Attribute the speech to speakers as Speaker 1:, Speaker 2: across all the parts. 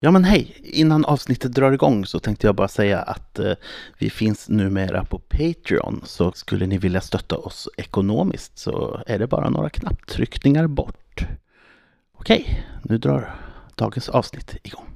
Speaker 1: Ja men hej! Innan avsnittet drar igång så tänkte jag bara säga att eh, vi finns numera på Patreon. Så skulle ni vilja stötta oss ekonomiskt så är det bara några knapptryckningar bort. Okej, nu drar dagens avsnitt igång.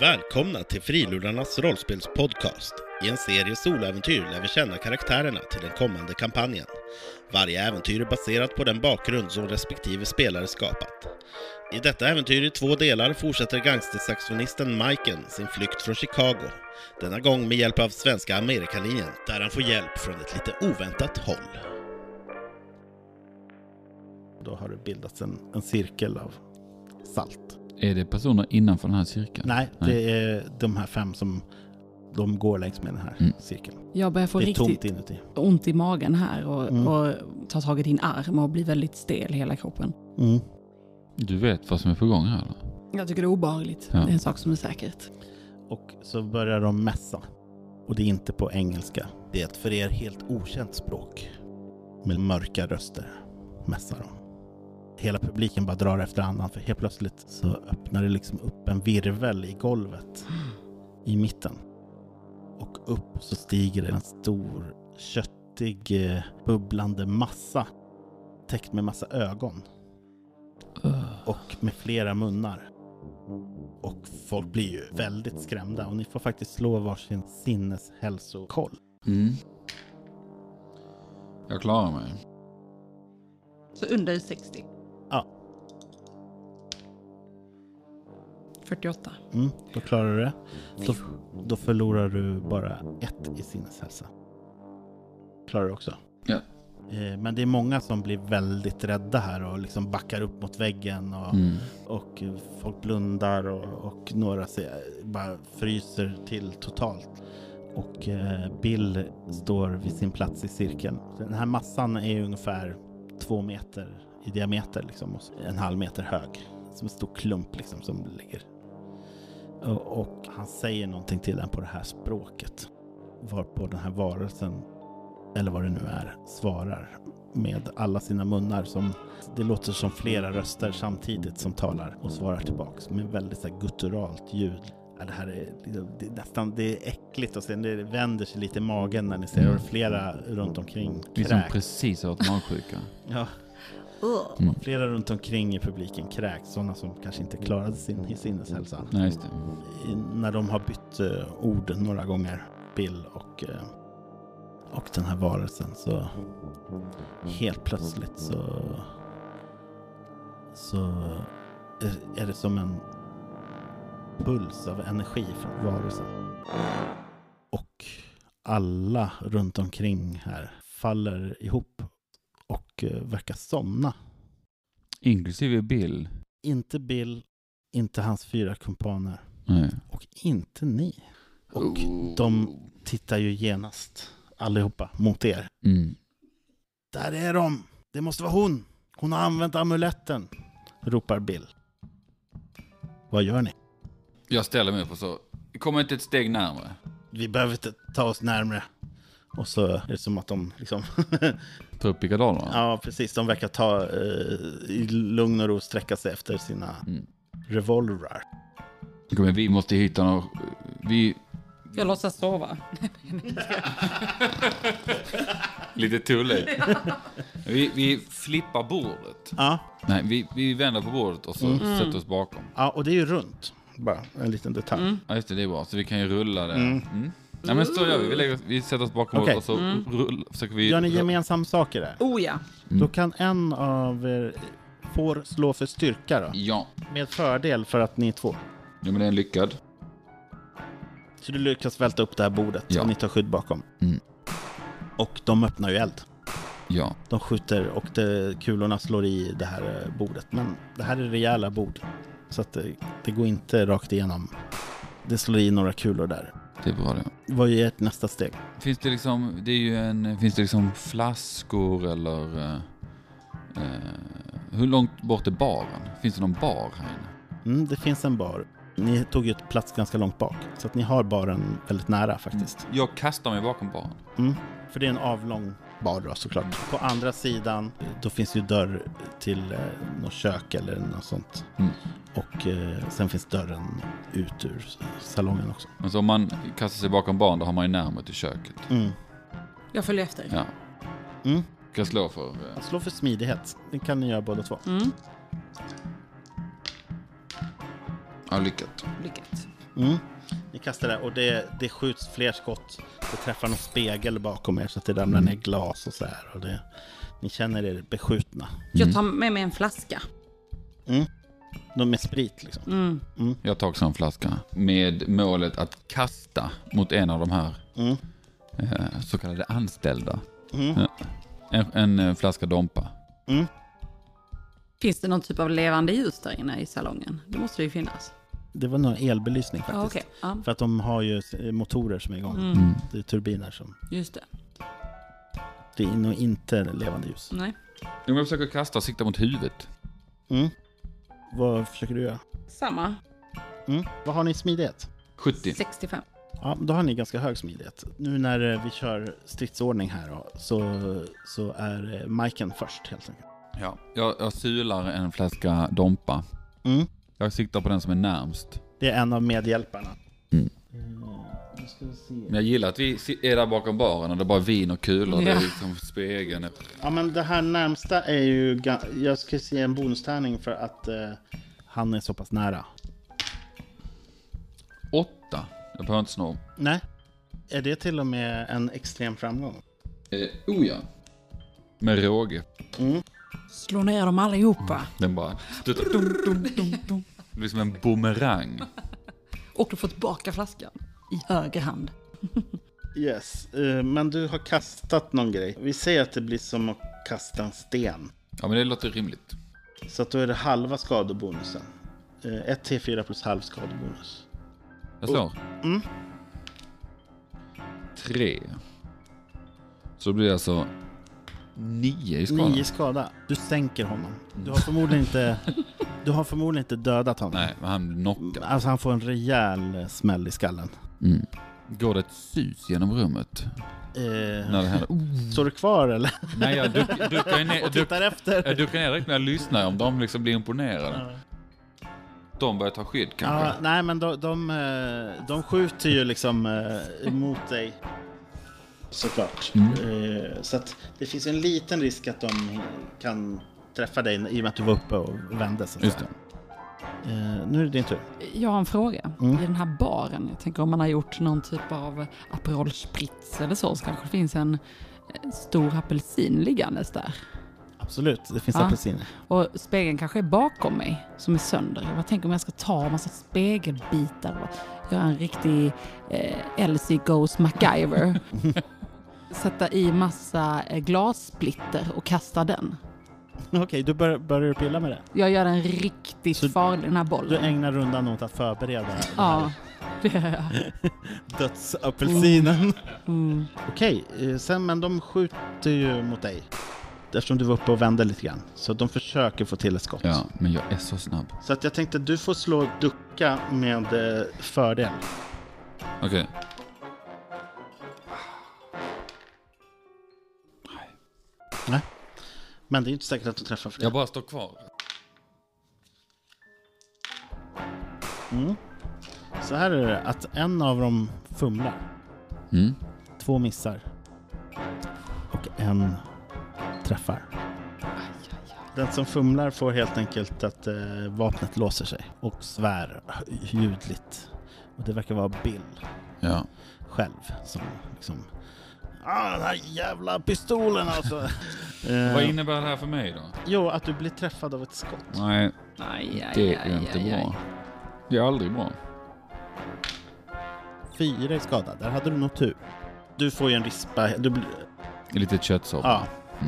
Speaker 2: Välkomna till Frilurarnas rollspelspodcast. I en serie soläventyr lär vi känna karaktärerna till den kommande kampanjen. Varje äventyr är baserat på den bakgrund som respektive spelare skapat. I detta äventyr i två delar fortsätter gangstersaxonisten Maiken sin flykt från Chicago. Denna gång med hjälp av svenska Amerikalinjen, där han får hjälp från ett lite oväntat håll. Då har det bildats en, en cirkel av salt.
Speaker 3: Är det personer innanför den här cirkeln?
Speaker 1: Nej, det är de här fem som de går längs med den här
Speaker 3: Mm.
Speaker 1: cirkeln.
Speaker 4: Jag börjar få
Speaker 1: det är tomt
Speaker 4: riktigt
Speaker 1: inuti.
Speaker 4: ont i magen här och,
Speaker 1: Mm.
Speaker 4: och tar tag i din arm och blir väldigt stel i hela kroppen.
Speaker 1: Mm.
Speaker 3: Du vet vad som är på gång här eller?
Speaker 4: Jag tycker det är obehagligt.
Speaker 3: Ja.
Speaker 4: Det är en sak som är säkert.
Speaker 1: Och så börjar de mässa. Och det är inte på engelska. Det är ett för er helt okänt språk. Med mörka röster mässar de. Hela publiken bara drar efter andan för helt plötsligt så öppnar det liksom upp en virvel i golvet i mitten. Och upp så stiger det en stor köttig eh, bubblande massa täckt med massa ögon och med flera munnar. Och folk blir ju väldigt skrämda och ni får faktiskt slå varsin sinneshälsokoll.
Speaker 3: Mm. Jag klarar mig.
Speaker 4: Så under 60.
Speaker 1: Ja.
Speaker 4: 48.
Speaker 1: Mm, då klarar du det. Då, då förlorar du bara ett i sinneshälsa. Klarar du också.
Speaker 3: Ja.
Speaker 1: Eh, Men det är många som blir väldigt rädda här och liksom backar upp mot väggen och,
Speaker 3: Mm.
Speaker 1: och eh, folk blundar och, och några ser, bara fryser till totalt. Och eh, Bill står vid sin plats i cirkeln. Den här massan är ju ungefär två meter i diameter liksom och en halv meter hög. Som en stor klump liksom som ligger. Och, och han säger någonting till den på det här språket. Varpå den här varelsen, eller vad det nu är, svarar med alla sina munnar som det låter som flera röster samtidigt som talar och svarar tillbaks med väldigt så här gutturalt ljud. Ja, det här är, det är nästan det är äckligt och sen det vänder sig lite i magen när ni ser hur flera runt omkring
Speaker 3: Vi som
Speaker 1: kräks.
Speaker 3: precis har varit magsjuka.
Speaker 1: Ja,
Speaker 3: Mm.
Speaker 1: flera runt omkring i publiken kräks, sådana som kanske inte klarade sin sinneshälsa.
Speaker 3: Nej, just det.
Speaker 1: I- När de har bytt eh, ord några gånger, Bill och, eh, och den här varelsen, så helt plötsligt så, så eh, är- är det som en puls av energi från varelsen. Och alla runt omkring här faller ihop och eh, verkar somna.
Speaker 3: Inklusive Bill.
Speaker 1: Inte Bill, inte hans fyra kumpaner
Speaker 3: Nej.
Speaker 1: och inte ni. Och de tittar ju genast allihopa mot er.
Speaker 3: Mm.
Speaker 1: Där är de! Det måste vara hon! Hon har använt amuletten! Ropar Bill. Vad gör ni?
Speaker 3: Jag ställer mig upp och så. Kommer inte ett steg närmare.
Speaker 1: Vi behöver inte ta oss närmre. Och så är det som att de liksom...
Speaker 3: Ta upp pickadollerna.
Speaker 1: ja, precis. De verkar ta eh, i lugn och ro sträcka sig efter sina
Speaker 3: Mm.
Speaker 1: revolvrar.
Speaker 3: Kom igen, vi måste hitta någon... Vi...
Speaker 4: Jag låtsas sova.
Speaker 3: Lite tulligt. vi, vi flippar bordet.
Speaker 1: Ja,
Speaker 3: Nej, vi, vi vänder på bordet och så
Speaker 1: Mm.
Speaker 3: sätter oss bakom.
Speaker 1: ja, och det är ju runt. Bara en liten detalj.
Speaker 3: Ja, just det, det är bra. Så vi kan ju rulla det. Mm. Nej, men så gör vi. Vi, lägger, oss- vi sätter oss bakom
Speaker 1: Okej.
Speaker 3: och så rull, försöker vi...
Speaker 1: Gör ni gemensamma saker där?
Speaker 4: Oh ja.
Speaker 3: Mm.
Speaker 1: Då kan en av er får slå för styrka då.
Speaker 3: Ja.
Speaker 1: Med fördel för att ni är två.
Speaker 3: ja, men det är en lyckad.
Speaker 1: Så du lyckas välta upp det här bordet
Speaker 3: Ja.
Speaker 1: och ni tar skydd bakom.
Speaker 3: Mm.
Speaker 1: Och de öppnar ju eld.
Speaker 3: Ja.
Speaker 1: De skjuter och det, kulorna slår i det här eh, bordet. Men det här är rejäla bord. Så att det, det går inte rakt igenom. Det slår i några kulor där.
Speaker 3: Det är bra det.
Speaker 1: Vad är ert nästa steg?
Speaker 3: Finns det liksom... Det är ju en... Finns det liksom flaskor eller... eh, Hur långt bort är baren? Finns det någon bar här inne?
Speaker 1: Mm, det finns en bar. Ni tog ju plats ganska långt bak, så att ni har baren väldigt nära faktiskt.
Speaker 3: Jag kastar mig bakom baren.
Speaker 1: Mm. För det är en avlång bar då såklart. På andra sidan, då finns ju dörr till eh, något kök eller något sånt.
Speaker 3: Mm.
Speaker 1: Och eh, sen finns dörren ut ur s- salongen också.
Speaker 3: Men så om man kastar sig bakom baren, då har man ju närmare till köket.
Speaker 1: Mm.
Speaker 4: Jag följer efter.
Speaker 3: Ja.
Speaker 1: Mm.
Speaker 3: Ska jag slå för... eh,
Speaker 1: Slå för smidighet, det kan ni göra båda två.
Speaker 4: Mm.
Speaker 3: Ja, lyckat.
Speaker 4: Lyckat.
Speaker 1: Mm. Ni kastar det och det, det skjuts fler skott. Det träffar någon spegel bakom er så att det ramlar ner glas och så här. Och det, ni känner er beskjutna.
Speaker 4: Jag tar med mig en flaska.
Speaker 1: De är sprit liksom.
Speaker 4: Mm.
Speaker 3: Jag tar också en flaska. Med målet att kasta mot en av de här
Speaker 1: Mm.
Speaker 3: eh, så kallade anställda.
Speaker 1: Mm.
Speaker 3: Ja. En, en eh, flaska Dompa.
Speaker 4: Finns det någon typ av levande ljus där inne i salongen? Det måste det ju finnas.
Speaker 1: Det var nog elbelysning faktiskt.
Speaker 4: Ja, Ah, okej. Mm. Ja,
Speaker 1: För att de har ju s- motorer som är igång. Det är turbiner som...
Speaker 4: just det.
Speaker 1: Det är nog inte levande ljus.
Speaker 4: Nej.
Speaker 3: Om jag försöker kasta och sikta mot huvudet.
Speaker 1: Mm. Vad försöker du göra?
Speaker 4: Samma.
Speaker 1: Mm. Vad har ni i smidighet?
Speaker 3: 70.
Speaker 4: 65.
Speaker 1: Ja, då har ni ganska hög smidighet. Nu när eh, vi kör stridsordning här då, så, så är eh, Majken först helt enkelt.
Speaker 3: Ja. Jag, jag sular en flaska Dompa.
Speaker 1: Mm.
Speaker 3: Jag siktar på den som är närmst.
Speaker 1: Det är en av medhjälparna.
Speaker 3: Mm.
Speaker 1: Eh, Nu ska vi
Speaker 3: Men
Speaker 1: se.
Speaker 3: jag gillar att vi si- är där bakom baren och det är bara vin och kulor. Det
Speaker 4: Ja.
Speaker 3: är liksom spegeln.
Speaker 1: Ja, men det här närmsta är ju... ga- Jag ska se en bonustärning för att eh, han är så pass nära.
Speaker 3: Åtta. Jag behöver inte snå.
Speaker 1: Nej. Är det till och med en extrem framgång?
Speaker 3: Eh, oh ja. Med råge.
Speaker 4: Slå ner dem allihopa.
Speaker 3: Den bara studsar. Dum, dum, dum, dum. Det blir som en bumerang.
Speaker 4: Och du får tillbaka flaskan. I höger hand.
Speaker 1: Yes, eh, men du har kastat någon grej. Vi säger att det blir som att kasta en sten.
Speaker 3: Ja men det låter rimligt.
Speaker 1: Så att då är det halva skadebonusen. Eh, 1 T4 plus halv skadebonus.
Speaker 3: Jag slår.
Speaker 1: Mm.
Speaker 3: Tre. Så det blir alltså nio i skala.
Speaker 1: 9 skada. Du sänker honom. Du har förmodligen inte, du har förmodligen inte dödat honom.
Speaker 3: Nej, men han blir knockad.
Speaker 1: Alltså han får en rejäl eh, smäll i skallen.
Speaker 3: Mm. Går det ett sus genom rummet?
Speaker 1: Eh,
Speaker 3: När det händer? Oh.
Speaker 1: står du kvar eller?
Speaker 3: Nej, jag duck, duckar ju ner,
Speaker 1: Och
Speaker 3: duck,
Speaker 1: tittar efter?
Speaker 3: jag duckar ner direkt när jag lyssnar om de liksom blir imponerade. De börjar ta skydd kanske.
Speaker 1: Ja, nej men de, de, eh, de skjuter ju liksom eh, mot dig. Såklart. Eh, Så att det finns en liten risk att de kan träffa dig i och med att du var uppe och vände. Så att
Speaker 3: Just
Speaker 1: säga. Eh, Nu är det din tur.
Speaker 4: Jag har en fråga. I den här baren, jag tänker om man har gjort någon typ av Aperol Spritz eller så, så kanske det finns en eh, stor apelsin liggandes där.
Speaker 1: Absolut, det finns
Speaker 4: Ja.
Speaker 1: apelsiner.
Speaker 4: Och spegeln kanske är bakom mig, som är sönder. Vad tänker om jag ska ta en massa spegelbitar och göra en riktig eh, Elsie Goes MacGyver. Sätta i massa eh, glassplitter och kasta den.
Speaker 1: Okej, du bör, börjar du pilla med det.
Speaker 4: Jag gör den riktigt
Speaker 1: Så
Speaker 4: farlig, den här
Speaker 1: Du
Speaker 4: bollen.
Speaker 1: ägnar rundan åt att förbereda den här
Speaker 4: Mm. Ja, det gör jag.
Speaker 1: dödsapelsinen.
Speaker 4: Mm.
Speaker 1: Okej, eh, sen, men de skjuter ju mot dig. Eftersom du var uppe och vände lite grann. Så de försöker få till ett skott.
Speaker 3: Ja, men jag är så snabb.
Speaker 1: Så att jag tänkte du får slå ducka med eh, fördel.
Speaker 3: Okej.
Speaker 1: Men det är inte säkert att du träffar för det.
Speaker 3: Jag bara står kvar.
Speaker 1: Så här är det att en av dem fumlar.
Speaker 3: Mm.
Speaker 1: Två missar. Och en träffar. Den som fumlar får helt enkelt att eh, vapnet låser sig och svär ljudligt. Och det verkar vara Bill.
Speaker 3: Ja.
Speaker 1: själv som liksom Ah, den här jävla pistolen alltså!
Speaker 3: Vad
Speaker 1: eh,
Speaker 3: innebär det här för mig då?
Speaker 1: jo, att du blir träffad av ett skott.
Speaker 3: Nej,
Speaker 4: Aj, aj,
Speaker 3: det
Speaker 4: aj,
Speaker 3: är inte
Speaker 4: aj, aj.
Speaker 3: bra. Det är aldrig bra.
Speaker 1: Fyra i skada, där hade du nog tur. Du får ju en rispa. Du blir,
Speaker 3: Det är Lite köttsoppa.
Speaker 1: ja.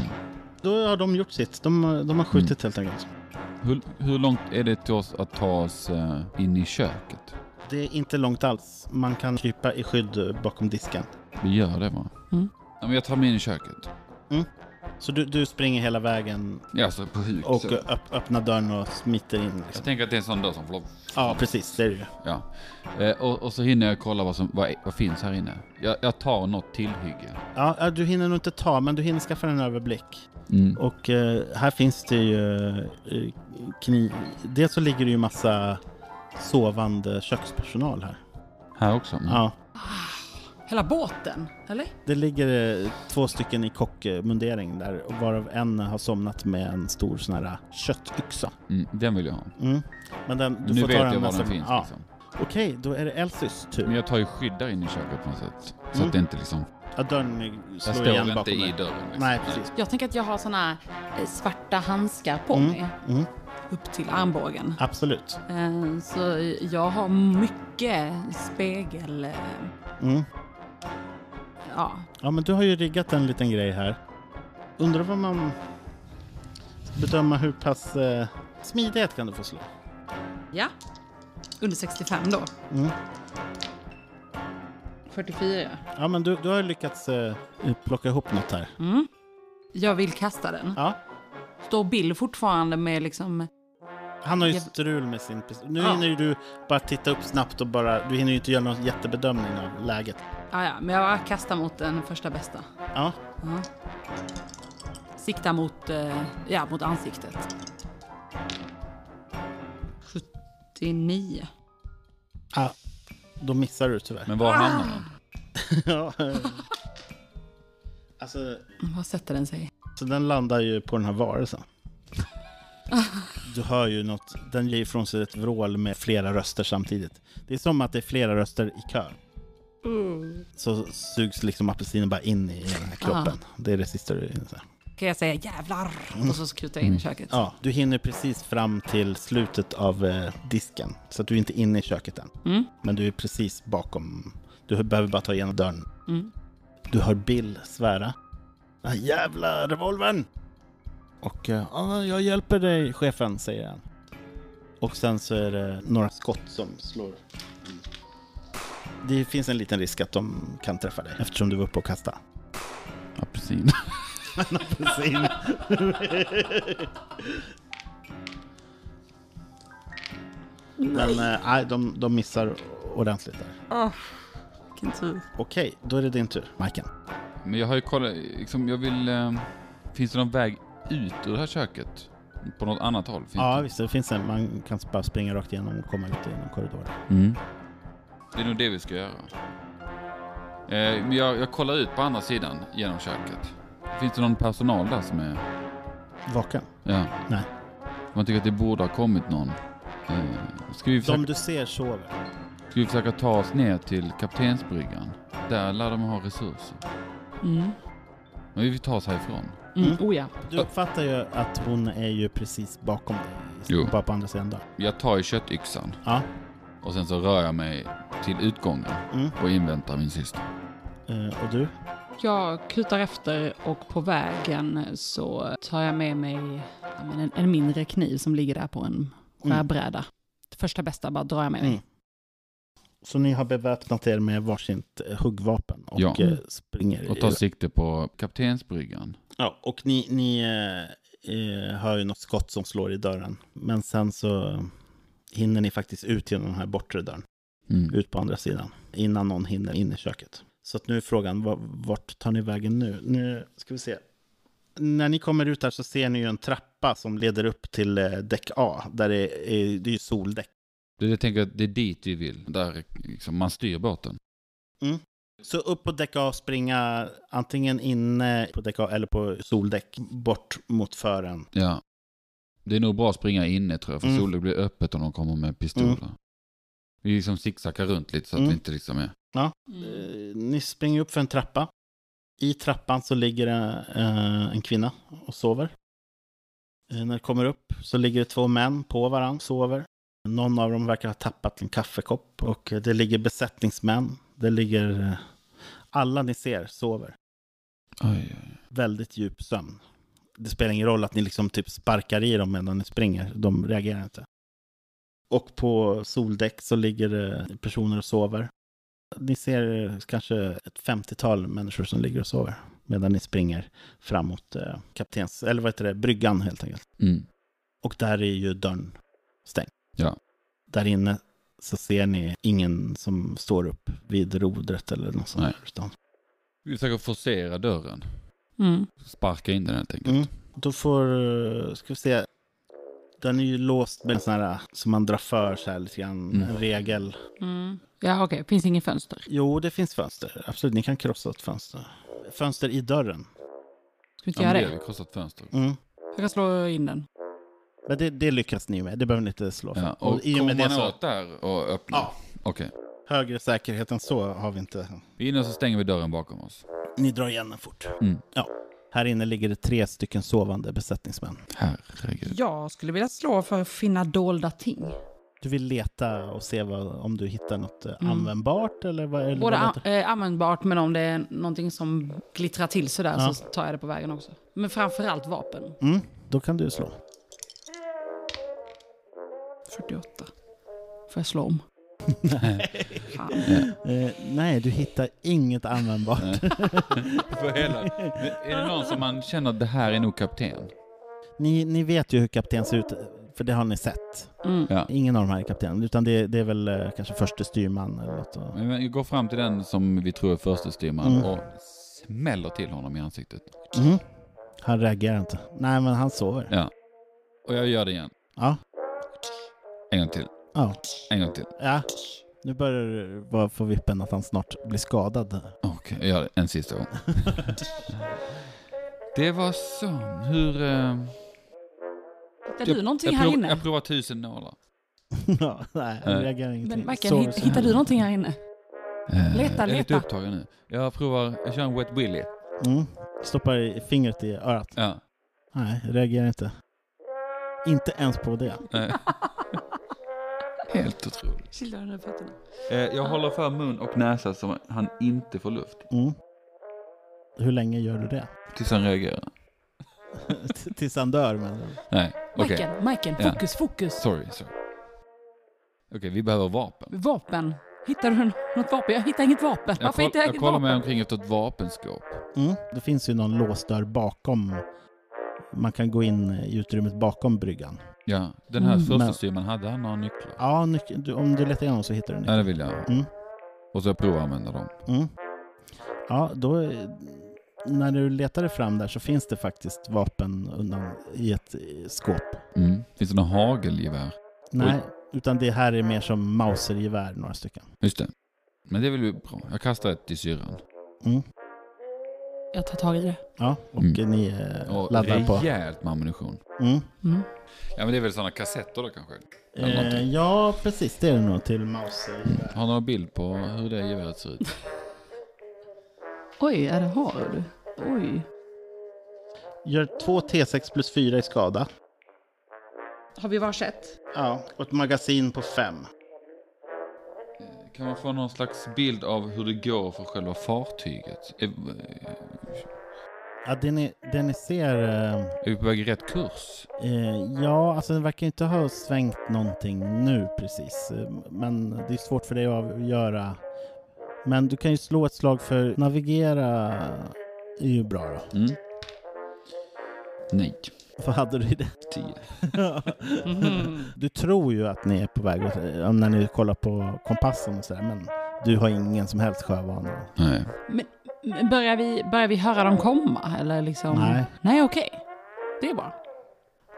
Speaker 1: Då har de gjort sitt. De, de har skjutit helt enkelt.
Speaker 3: Hur, hur långt är det till oss att ta oss eh, in i köket?
Speaker 1: Det är inte långt alls. Man kan krypa i skydd bakom disken.
Speaker 3: Vi gör det va?
Speaker 4: Mm.
Speaker 3: Ja, men jag tar mig in i köket.
Speaker 1: Mm. Så du, du springer hela vägen
Speaker 3: Ja, så på huk.
Speaker 1: och eh,
Speaker 3: så.
Speaker 1: öpp, öppnar dörren och smiter in.
Speaker 3: Jag
Speaker 1: Liksom.
Speaker 3: tänker att det är en sån dörr som får lov.
Speaker 1: Ja, precis. Det är det ju.
Speaker 3: Ja. Eh, och, och så hinner jag kolla vad som vad, är- vad finns här inne. Jag, jag tar något tillhygge.
Speaker 1: Ja, ja, du hinner nog inte ta, men du hinner skaffa en överblick.
Speaker 3: Mm.
Speaker 1: Och eh, här finns det ju eh, kniv. Dels så ligger det ju massa sovande kökspersonal här.
Speaker 3: Här också? Mm.
Speaker 1: Ja,
Speaker 4: Hela båten, eller?
Speaker 1: det ligger eh, två stycken i kockmundering där, och varav en har somnat med en stor sån här eh, köttyxa.
Speaker 3: Mm, den vill jag ha.
Speaker 1: Mm. Men den, du
Speaker 3: nu
Speaker 1: får
Speaker 3: vet
Speaker 1: ta
Speaker 3: jag
Speaker 1: den
Speaker 3: var
Speaker 1: nästa-
Speaker 3: den finns.
Speaker 1: Ja.
Speaker 3: Liksom.
Speaker 1: Okej, då är det Elsys tur.
Speaker 3: Men jag tar ju skydd där inne i köket på något sätt. Så
Speaker 1: Mm.
Speaker 3: att det inte liksom...
Speaker 1: Ja, dörren är-
Speaker 3: Jag
Speaker 1: slår
Speaker 3: står
Speaker 1: igen
Speaker 3: inte
Speaker 1: bakom
Speaker 3: i
Speaker 1: dig.
Speaker 3: dörren. Liksom.
Speaker 1: Nej, precis.
Speaker 4: Jag tänker att jag har såna här eh, svarta handskar på
Speaker 1: Mm,
Speaker 4: mig.
Speaker 1: mm.
Speaker 4: Upp till armbågen.
Speaker 1: Absolut.
Speaker 4: Eh, Så jag har mycket spegel... eh,
Speaker 1: Mm.
Speaker 4: Ja.
Speaker 1: Ja, men du har ju riggat en liten grej här. Undrar vad man... ska Bedöma hur pass... Eh, smidighet kan du få slå.
Speaker 4: ja. Under 65 då.
Speaker 1: Mm.
Speaker 4: 44.
Speaker 1: Ja, men du, du har ju lyckats eh, plocka ihop något här.
Speaker 3: Mm.
Speaker 4: Jag vill kasta den.
Speaker 1: Ja.
Speaker 4: Står Bill fortfarande med liksom...
Speaker 1: Han har ju
Speaker 4: Jag-
Speaker 1: strul med sin pistol. Nu
Speaker 4: Ja.
Speaker 1: hinner ju du bara titta upp snabbt och bara... Du hinner ju inte göra någon jättebedömning av läget.
Speaker 4: Ja, ja, men jag bara kastar mot den första bästa.
Speaker 1: Ja.
Speaker 4: Ja. Sikta mot, eh, ja, mot ansiktet. 79.
Speaker 1: Ah, då missar du tyvärr.
Speaker 3: Men var
Speaker 1: Ah!
Speaker 3: hamnar den?
Speaker 1: ja. Alltså,
Speaker 4: Var sätter den sig?
Speaker 1: så den landar ju på den här varelsen. Du hör ju något, den ger ifrån sig ett vrål med flera röster samtidigt. Det är som att det är flera röster i kö.
Speaker 4: Mm.
Speaker 1: Så sugs liksom apelsinen bara in i den här kroppen. Det är det sista du hinner säga.
Speaker 4: Kan jag säga jävlar?
Speaker 3: Mm.
Speaker 4: Och så skrutar jag in i köket.
Speaker 1: Ja, du hinner precis fram till slutet av eh, disken. Så att du är inte inne i köket än.
Speaker 4: Mm.
Speaker 1: Men du är precis bakom. Du behöver bara ta igenom dörren.
Speaker 4: Mm.
Speaker 1: Du hör Bill svära. Den här jävla revolvern! Och eh, ja, jag hjälper dig chefen, säger han. Och sen så är det några skott som slår. Mm. Det finns en liten risk att de kan träffa dig eftersom du var uppe och kastade.
Speaker 3: Apelsin.
Speaker 1: Apelsin. Men eh, nej, de, de missar ordentligt där.
Speaker 4: Vilken tur.
Speaker 1: Okej, då är det din tur, Majken.
Speaker 3: Men jag har ju kollat, liksom, jag vill... ehm, finns det någon väg ut ur det här köket? På något annat håll? Finns
Speaker 1: Ja,
Speaker 3: det?
Speaker 1: visst, det finns en. Man kan bara springa rakt igenom och komma ut genom korridoren.
Speaker 3: Mm. Det är nog det vi ska göra. Eh, men jag, jag kollar ut på andra sidan genom köket. Finns det någon personal där som är...
Speaker 1: Vaken?
Speaker 3: Ja.
Speaker 1: Nej.
Speaker 3: Man tycker att det borde ha kommit någon. Eh, ska, vi försöka,
Speaker 1: De du ser sover.
Speaker 3: ska vi försöka ta oss ner till kaptensbryggan? Där lär de ha resurser.
Speaker 4: Mm.
Speaker 3: Men vi vill ta oss härifrån.
Speaker 4: Mm.
Speaker 1: Mm.
Speaker 4: Oh ja.
Speaker 1: Du uppfattar ju att hon är ju precis bakom dig.
Speaker 3: Jo.
Speaker 1: Bara på andra sidan dörren.
Speaker 3: Jag tar i köttyxan
Speaker 1: Ja.
Speaker 3: och sen så rör jag mig till utgången
Speaker 1: Mm.
Speaker 3: och inväntar min syster.
Speaker 1: Eh, och du?
Speaker 4: Jag kutar efter och på vägen så tar jag med mig ja, men en, en mindre kniv som ligger där på en
Speaker 3: Mm.
Speaker 4: skärbräda. Det första bästa bara drar jag med mig.
Speaker 1: Mm. Så ni har beväpnat er med varsitt eh, huggvapen och
Speaker 3: Ja.
Speaker 1: eh, springer.
Speaker 3: Och tar sikte på kaptensbryggan.
Speaker 1: Ja, och ni, ni eh, eh, hör ju något skott som slår i dörren. Men sen så hinner ni faktiskt ut genom den här bortre dörren,
Speaker 3: Mm.
Speaker 1: ut på andra sidan, innan någon hinner in i köket. Så att nu är frågan, va- vart tar ni vägen nu? Nu ska vi se. När ni kommer ut här så ser ni ju en trappa som leder upp till eh, däck A, där det är, det är ju soldäck.
Speaker 3: Det, jag tänker att det är dit vi vill. Där liksom man styr båten.
Speaker 1: Mm. Så upp på däck A och springa antingen inne på däck A eller på soldäck, bort mot fören.
Speaker 3: Ja. Det är nog bra att springa inne tror jag, för
Speaker 1: Mm.
Speaker 3: solen blir öppet om de kommer med pistoler. Vi liksom zigzaggar runt lite så att
Speaker 1: Mm.
Speaker 3: vi inte liksom är... Mm.
Speaker 1: Eh, ni springer upp för en trappa. I trappan så ligger det, eh, en kvinna och sover. Eh, när det kommer upp så ligger det två män på varandra och sover. Någon av dem verkar ha tappat en kaffekopp och eh, det ligger besättningsmän. Det ligger... Eh, alla ni ser sover.
Speaker 3: Oj, oj.
Speaker 1: Väldigt djup sömn. Det spelar ingen roll att ni liksom typ sparkar i dem medan ni springer. De reagerar inte. Och på soldäck så ligger det personer och sover. Ni ser kanske ett 50-tal människor som ligger och sover. medan ni springer framåt eh, kaptens, eller vad heter det, bryggan helt enkelt.
Speaker 3: Mm.
Speaker 1: Och där är ju dörren stängd.
Speaker 3: Ja.
Speaker 1: Där inne så ser ni ingen som står upp vid rodret eller något sånt.
Speaker 3: Nej.
Speaker 1: där, Utan,
Speaker 3: Vi försöker forcera dörren.
Speaker 4: Mm.
Speaker 3: Sparka in den helt enkelt.
Speaker 1: mm. Då får, eh, ska vi se, den är ju låst med en sån här eh, som man drar för så här lite grann,
Speaker 3: Mm.
Speaker 1: en regel.
Speaker 4: Mm. Ja, okej. Finns inget fönster.
Speaker 1: Jo, det finns fönster. Absolut, ni kan krossa ett fönster. Fönster i dörren.
Speaker 4: Ska vi inte
Speaker 3: Ja, men
Speaker 4: göra
Speaker 3: det har
Speaker 4: det?
Speaker 3: vi krossat fönster.
Speaker 1: Mm.
Speaker 4: Jag kan slå in den.
Speaker 1: Men det, det lyckas ni med, det behöver ni inte slå för.
Speaker 3: Ja, och
Speaker 1: i Alltså, och
Speaker 3: kommer
Speaker 1: med det
Speaker 3: man
Speaker 1: så,
Speaker 3: åt där och öppnar?
Speaker 1: Ja.
Speaker 3: Okej.
Speaker 1: högre säkerhet än så har vi inte.
Speaker 3: Vi är inne och så stänger vi dörren bakom oss.
Speaker 1: Ni drar igen den fort.
Speaker 3: Mm.
Speaker 1: Ja. Här inne ligger det tre stycken sovande besättningsmän.
Speaker 3: Herregud.
Speaker 4: Jag skulle vilja slå för att finna dolda ting.
Speaker 1: Du vill leta och se vad, om du hittar något eh,
Speaker 4: Mm.
Speaker 1: användbart eller vad? Eller
Speaker 4: Både
Speaker 1: vad
Speaker 4: an-
Speaker 1: heter-
Speaker 4: eh, användbart, men om det är någonting som glittrar till sådär
Speaker 1: Ja.
Speaker 4: så tar jag det på vägen också. Men framförallt vapen.
Speaker 1: mm, då kan du slå.
Speaker 4: 48. Får jag slå om? Fan.
Speaker 1: Eh, nej, du hittar inget användbart.
Speaker 3: För hela. Men Är det någon som man känner att det här är nog kapten?
Speaker 1: ni, ni vet ju hur kapten ser ut, för det har ni sett.
Speaker 4: Mm.
Speaker 3: Ja.
Speaker 1: Ingen av de här är kapten, utan det, det är väl eh, kanske förste styrman eller något. Och,
Speaker 3: Men vi går fram till den som vi tror är förstestyrman
Speaker 1: Mm.
Speaker 3: och smäller till honom i ansiktet.
Speaker 1: mm. Han reagerar inte. Nej, men han sover.
Speaker 3: Ja. Och jag gör det igen.
Speaker 1: Ja.
Speaker 3: En gång till.
Speaker 1: ja.
Speaker 3: En gång till.
Speaker 1: Ja. Nu börjar det vara för vippen att han snart blir skadad.
Speaker 3: Okej, jag gör det en sista gång. det var så. Hur... Eh,
Speaker 4: Hittar du någonting
Speaker 3: jag,
Speaker 4: här
Speaker 3: prov,
Speaker 4: inne?
Speaker 3: jag provar tusen nålar.
Speaker 1: ja, nej, han
Speaker 3: Nej.
Speaker 1: reagerar ingenting.
Speaker 4: Men Mackan,
Speaker 1: Sover
Speaker 4: hit,
Speaker 1: så-
Speaker 4: hittar du någonting här inne?
Speaker 3: Eh,
Speaker 4: Leta,
Speaker 3: Jag är lite
Speaker 4: leta.
Speaker 3: upptagen nu. Jag provar, jag kör en wet willy.
Speaker 1: Mm. Stoppar i- fingret i örat.
Speaker 3: Ja.
Speaker 1: Nej, reagerar inte. Inte ens på det.
Speaker 3: eh. Helt otroligt.
Speaker 4: Killar under fötterna.
Speaker 3: Eh, jag håller för mun och näsa så han inte får luft.
Speaker 1: Mm. Hur länge gör du det?
Speaker 3: Tills han reagerar.
Speaker 1: T- Tills han dör men.
Speaker 3: Nej, okej.
Speaker 4: Majken, Majken,
Speaker 3: Ja.
Speaker 4: fokus, fokus.
Speaker 3: Sorry, sorry. Okej, vi behöver vapen.
Speaker 4: Vapen. Hittar du något vapen? Jag hittar inget vapen.
Speaker 3: Jag,
Speaker 4: Varför
Speaker 3: koll,
Speaker 4: hittar jag
Speaker 3: jag
Speaker 4: inget
Speaker 3: kollar mig
Speaker 4: vapen?
Speaker 3: omkring efter ett vapenskåp.
Speaker 1: Mm. Det finns ju någon låsdörr bakom. Man kan gå in i utrymmet bakom bryggan.
Speaker 3: Ja, den här
Speaker 4: Mm,
Speaker 3: första
Speaker 1: men-
Speaker 3: styrman, hade han några nycklar?
Speaker 1: Ja, nyc- du, om du letar igenom så hittar du
Speaker 3: Ja,
Speaker 1: nyckeln.
Speaker 3: det vill jag.
Speaker 1: Mm.
Speaker 3: Och så jag provar att använda dem.
Speaker 1: Mm. Ja, då... eh, När du letade fram där så finns det faktiskt vapen undan i ett eh, skåp.
Speaker 3: Mm. Finns det några hagelgevär?
Speaker 1: Nej, utan det här är mer som mausergevär, några stycken.
Speaker 3: Just det. Men det är väl bra. Jag kastar ett i syran.
Speaker 1: Mm.
Speaker 4: Jag tar tag i det.
Speaker 1: Ja, och
Speaker 3: Mm.
Speaker 1: ni eh,
Speaker 3: Och
Speaker 1: laddar på.
Speaker 3: rejält med ammunition.
Speaker 1: Mm.
Speaker 4: Mm.
Speaker 3: Ja men det är väl sådana kassetter då kanske? Eller
Speaker 1: Eh,
Speaker 3: någonting.
Speaker 1: ja, precis. Det är det nog till
Speaker 3: Mm.
Speaker 1: mausergevär.
Speaker 3: Har du någon bild på hur det geväret ser ut?
Speaker 4: Oj, ja, det har du. Oj.
Speaker 1: Gör två T6 plus 4 i skada.
Speaker 4: Har vi varsitt?
Speaker 1: Ja, och ett magasin på 5.
Speaker 3: Kan man få någon slags bild av hur det går för själva fartyget? Är,
Speaker 1: Ja, det ni, det ni ser... Eh,
Speaker 3: är vi på väg i rätt kurs?
Speaker 1: Eh, ja, alltså den verkar inte ha svängt någonting nu precis. Eh, Men det är svårt för dig att avgöra. Men du kan ju slå ett slag för navigera är ju bra då.
Speaker 3: Mm. Nej.
Speaker 1: Vad hade du i det?
Speaker 3: Tio.
Speaker 4: Mhm.
Speaker 1: du tror ju att ni är på väg åt, eh, när ni kollar på kompassen och sådär, men du har ingen som helst sjövana.
Speaker 3: Nej.
Speaker 4: Men Börjar vi, börjar vi höra dem komma? Eller liksom?
Speaker 1: Nej.
Speaker 4: Nej, okej. Det är bra.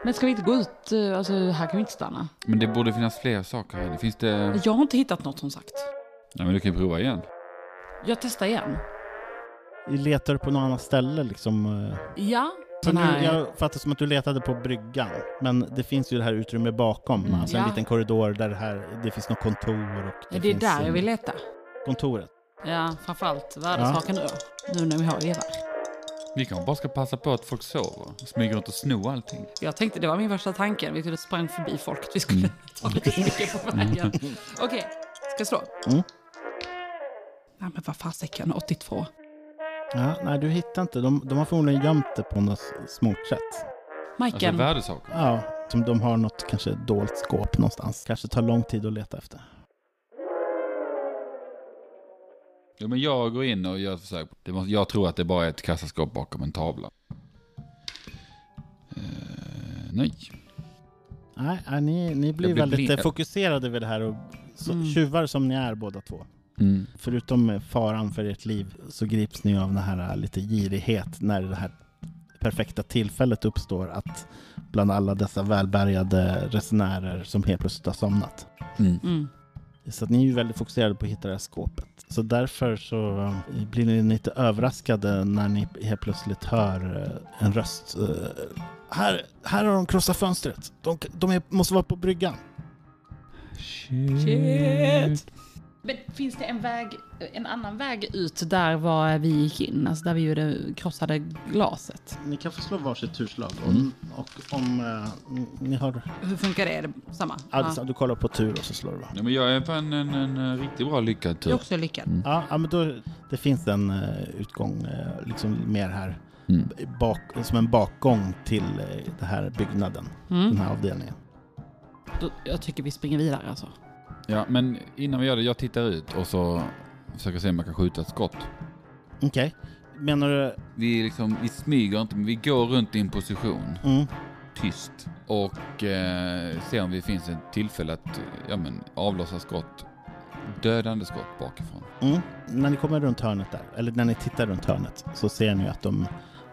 Speaker 4: Men ska vi inte gå ut? eh, Alltså, här kan vi inte stanna.
Speaker 3: Men det borde finnas fler saker här. Finns det...
Speaker 4: Jag har inte hittat något som sagt.
Speaker 3: Nej men du kan ju prova igen.
Speaker 4: Jag testar igen.
Speaker 1: Letar du på något annat ställe liksom? eh?
Speaker 4: Ja.
Speaker 1: För
Speaker 4: Sån
Speaker 1: nu,
Speaker 4: här.
Speaker 1: jag fattar som att du letade på bryggan, men det finns ju det här utrymmet bakom,
Speaker 3: Mm.
Speaker 1: alltså
Speaker 4: Ja.
Speaker 1: en liten korridor där det, här, det finns något kontor. Och
Speaker 4: det, är
Speaker 1: finns
Speaker 4: där
Speaker 1: en-
Speaker 4: jag vill leta.
Speaker 1: Kontoret.
Speaker 4: Ja, framförallt värdesaken nu då. Nu när vi har gevär.
Speaker 3: Vi kanske bara ska passa på att folk sover. och Smyger runt och snor allting. Alltså,
Speaker 4: Jag tänkte, det var min värsta tanke. Vi skulle sprang förbi folk. Vi skulle
Speaker 1: Mm.
Speaker 4: ta lite mycket på vägen. Okej, ska jag slå?
Speaker 1: Mm.
Speaker 4: Nej, men vad fasiken, 82.
Speaker 1: Ja, nej, du hittar inte. De, de har förmodligen gömt det på något s- smart sätt.
Speaker 3: Alltså
Speaker 4: Majken,
Speaker 3: värdesaker.
Speaker 1: Ja, som de har något kanske dolt skåp någonstans. Kanske tar lång tid att leta efter.
Speaker 3: Jo, men jag går in och gör ett försök. Det måste, jag tror att det bara är ett kassaskåp bakom en tavla. Eh, nej.
Speaker 1: Nej, nej, ni, ni blir
Speaker 3: Jag blir
Speaker 1: väldigt
Speaker 3: ble-
Speaker 1: eh, fokuserade vid det här och så,
Speaker 4: Mm.
Speaker 1: tjuvar som ni är båda två.
Speaker 3: Mm.
Speaker 1: Förutom eh, faran för ert liv så grips ni av den här eh, lite girighet när det här perfekta tillfället uppstår att bland alla dessa välbärgade resenärer som helt plötsligt har somnat.
Speaker 3: Mm.
Speaker 4: Mm.
Speaker 1: Så att ni är ju väldigt fokuserade på att hitta det här skåpet. Så därför så eh, blir ni lite överraskade när ni helt plötsligt hör eh, en röst. eh, Här, här har de krossat fönstret. De, de är, måste vara på bryggan.
Speaker 4: Shit. Men finns det en väg, en annan väg ut där var vi gick in? Alltså där vi gjorde, krossade glaset.
Speaker 1: Ni kan få slå varsitt turslag.
Speaker 3: Mm.
Speaker 1: Och om eh, ni har...
Speaker 4: Hur funkar det? Är det samma?
Speaker 1: Alltså, Du kollar på tur och så slår du va?
Speaker 3: Ja, men jag är fan en, en, en riktigt bra lyckad typ.
Speaker 4: Det är
Speaker 3: tur.
Speaker 4: också lyckat.
Speaker 1: Ja, ja, men då, det finns en eh, utgång eh, liksom mer här.
Speaker 3: Mm.
Speaker 1: Bak, som en bakgång till eh, den här byggnaden.
Speaker 4: Mm.
Speaker 1: Den här avdelningen.
Speaker 4: Då, jag tycker vi springer vidare alltså.
Speaker 3: Ja, men innan vi gör det, jag tittar ut och så försöker se om jag kan skjuta ett skott.
Speaker 1: Okej. Menar du...
Speaker 3: Vi, liksom, vi smyger inte, men vi går runt i en position,
Speaker 1: Mm.
Speaker 3: tyst, och eh, ser om det finns ett tillfälle att ja, men, avlossa skott. Dödande skott bakifrån.
Speaker 1: Mm. När ni kommer runt hörnet där, eller när ni tittar runt hörnet, så ser ni att de,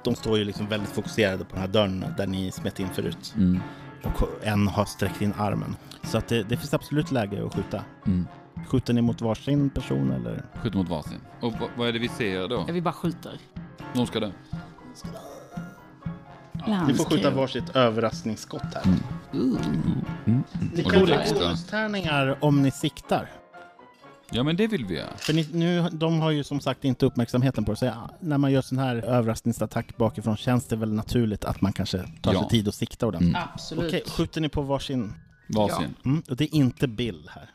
Speaker 1: de står ju liksom väldigt fokuserade på den här dörren där ni smet in förut.
Speaker 3: Mm.
Speaker 1: Och en har sträckt in armen. Så att det, det finns absolut läge att skjuta.
Speaker 3: Mm.
Speaker 1: Skjuter ni mot varsin person eller?
Speaker 3: Skjuter mot varsin. Och v- vad är det vi ser då?
Speaker 4: Ja, Vi bara skjuter.
Speaker 3: De ska dö.
Speaker 1: Ni får skjuta
Speaker 4: Landskrig.
Speaker 1: varsitt överraskningsskott här.
Speaker 4: Ooh.
Speaker 1: Ni
Speaker 3: Och
Speaker 1: kan
Speaker 3: då
Speaker 1: ju
Speaker 3: extra.
Speaker 1: bonustärningar om ni siktar.
Speaker 3: Ja, men det vill vi göra.
Speaker 1: För ni, nu, de har ju som sagt inte uppmärksamheten på det. Så ja, när man gör sån här överraskningsattack bakifrån känns det väl naturligt att man kanske tar
Speaker 3: Ja. Mm.
Speaker 1: sig tid att sikta ordentligt.
Speaker 4: Absolut.
Speaker 1: Okej, skjuter ni på varsin?
Speaker 3: Varsin.
Speaker 1: Mm, och det är inte Bill här,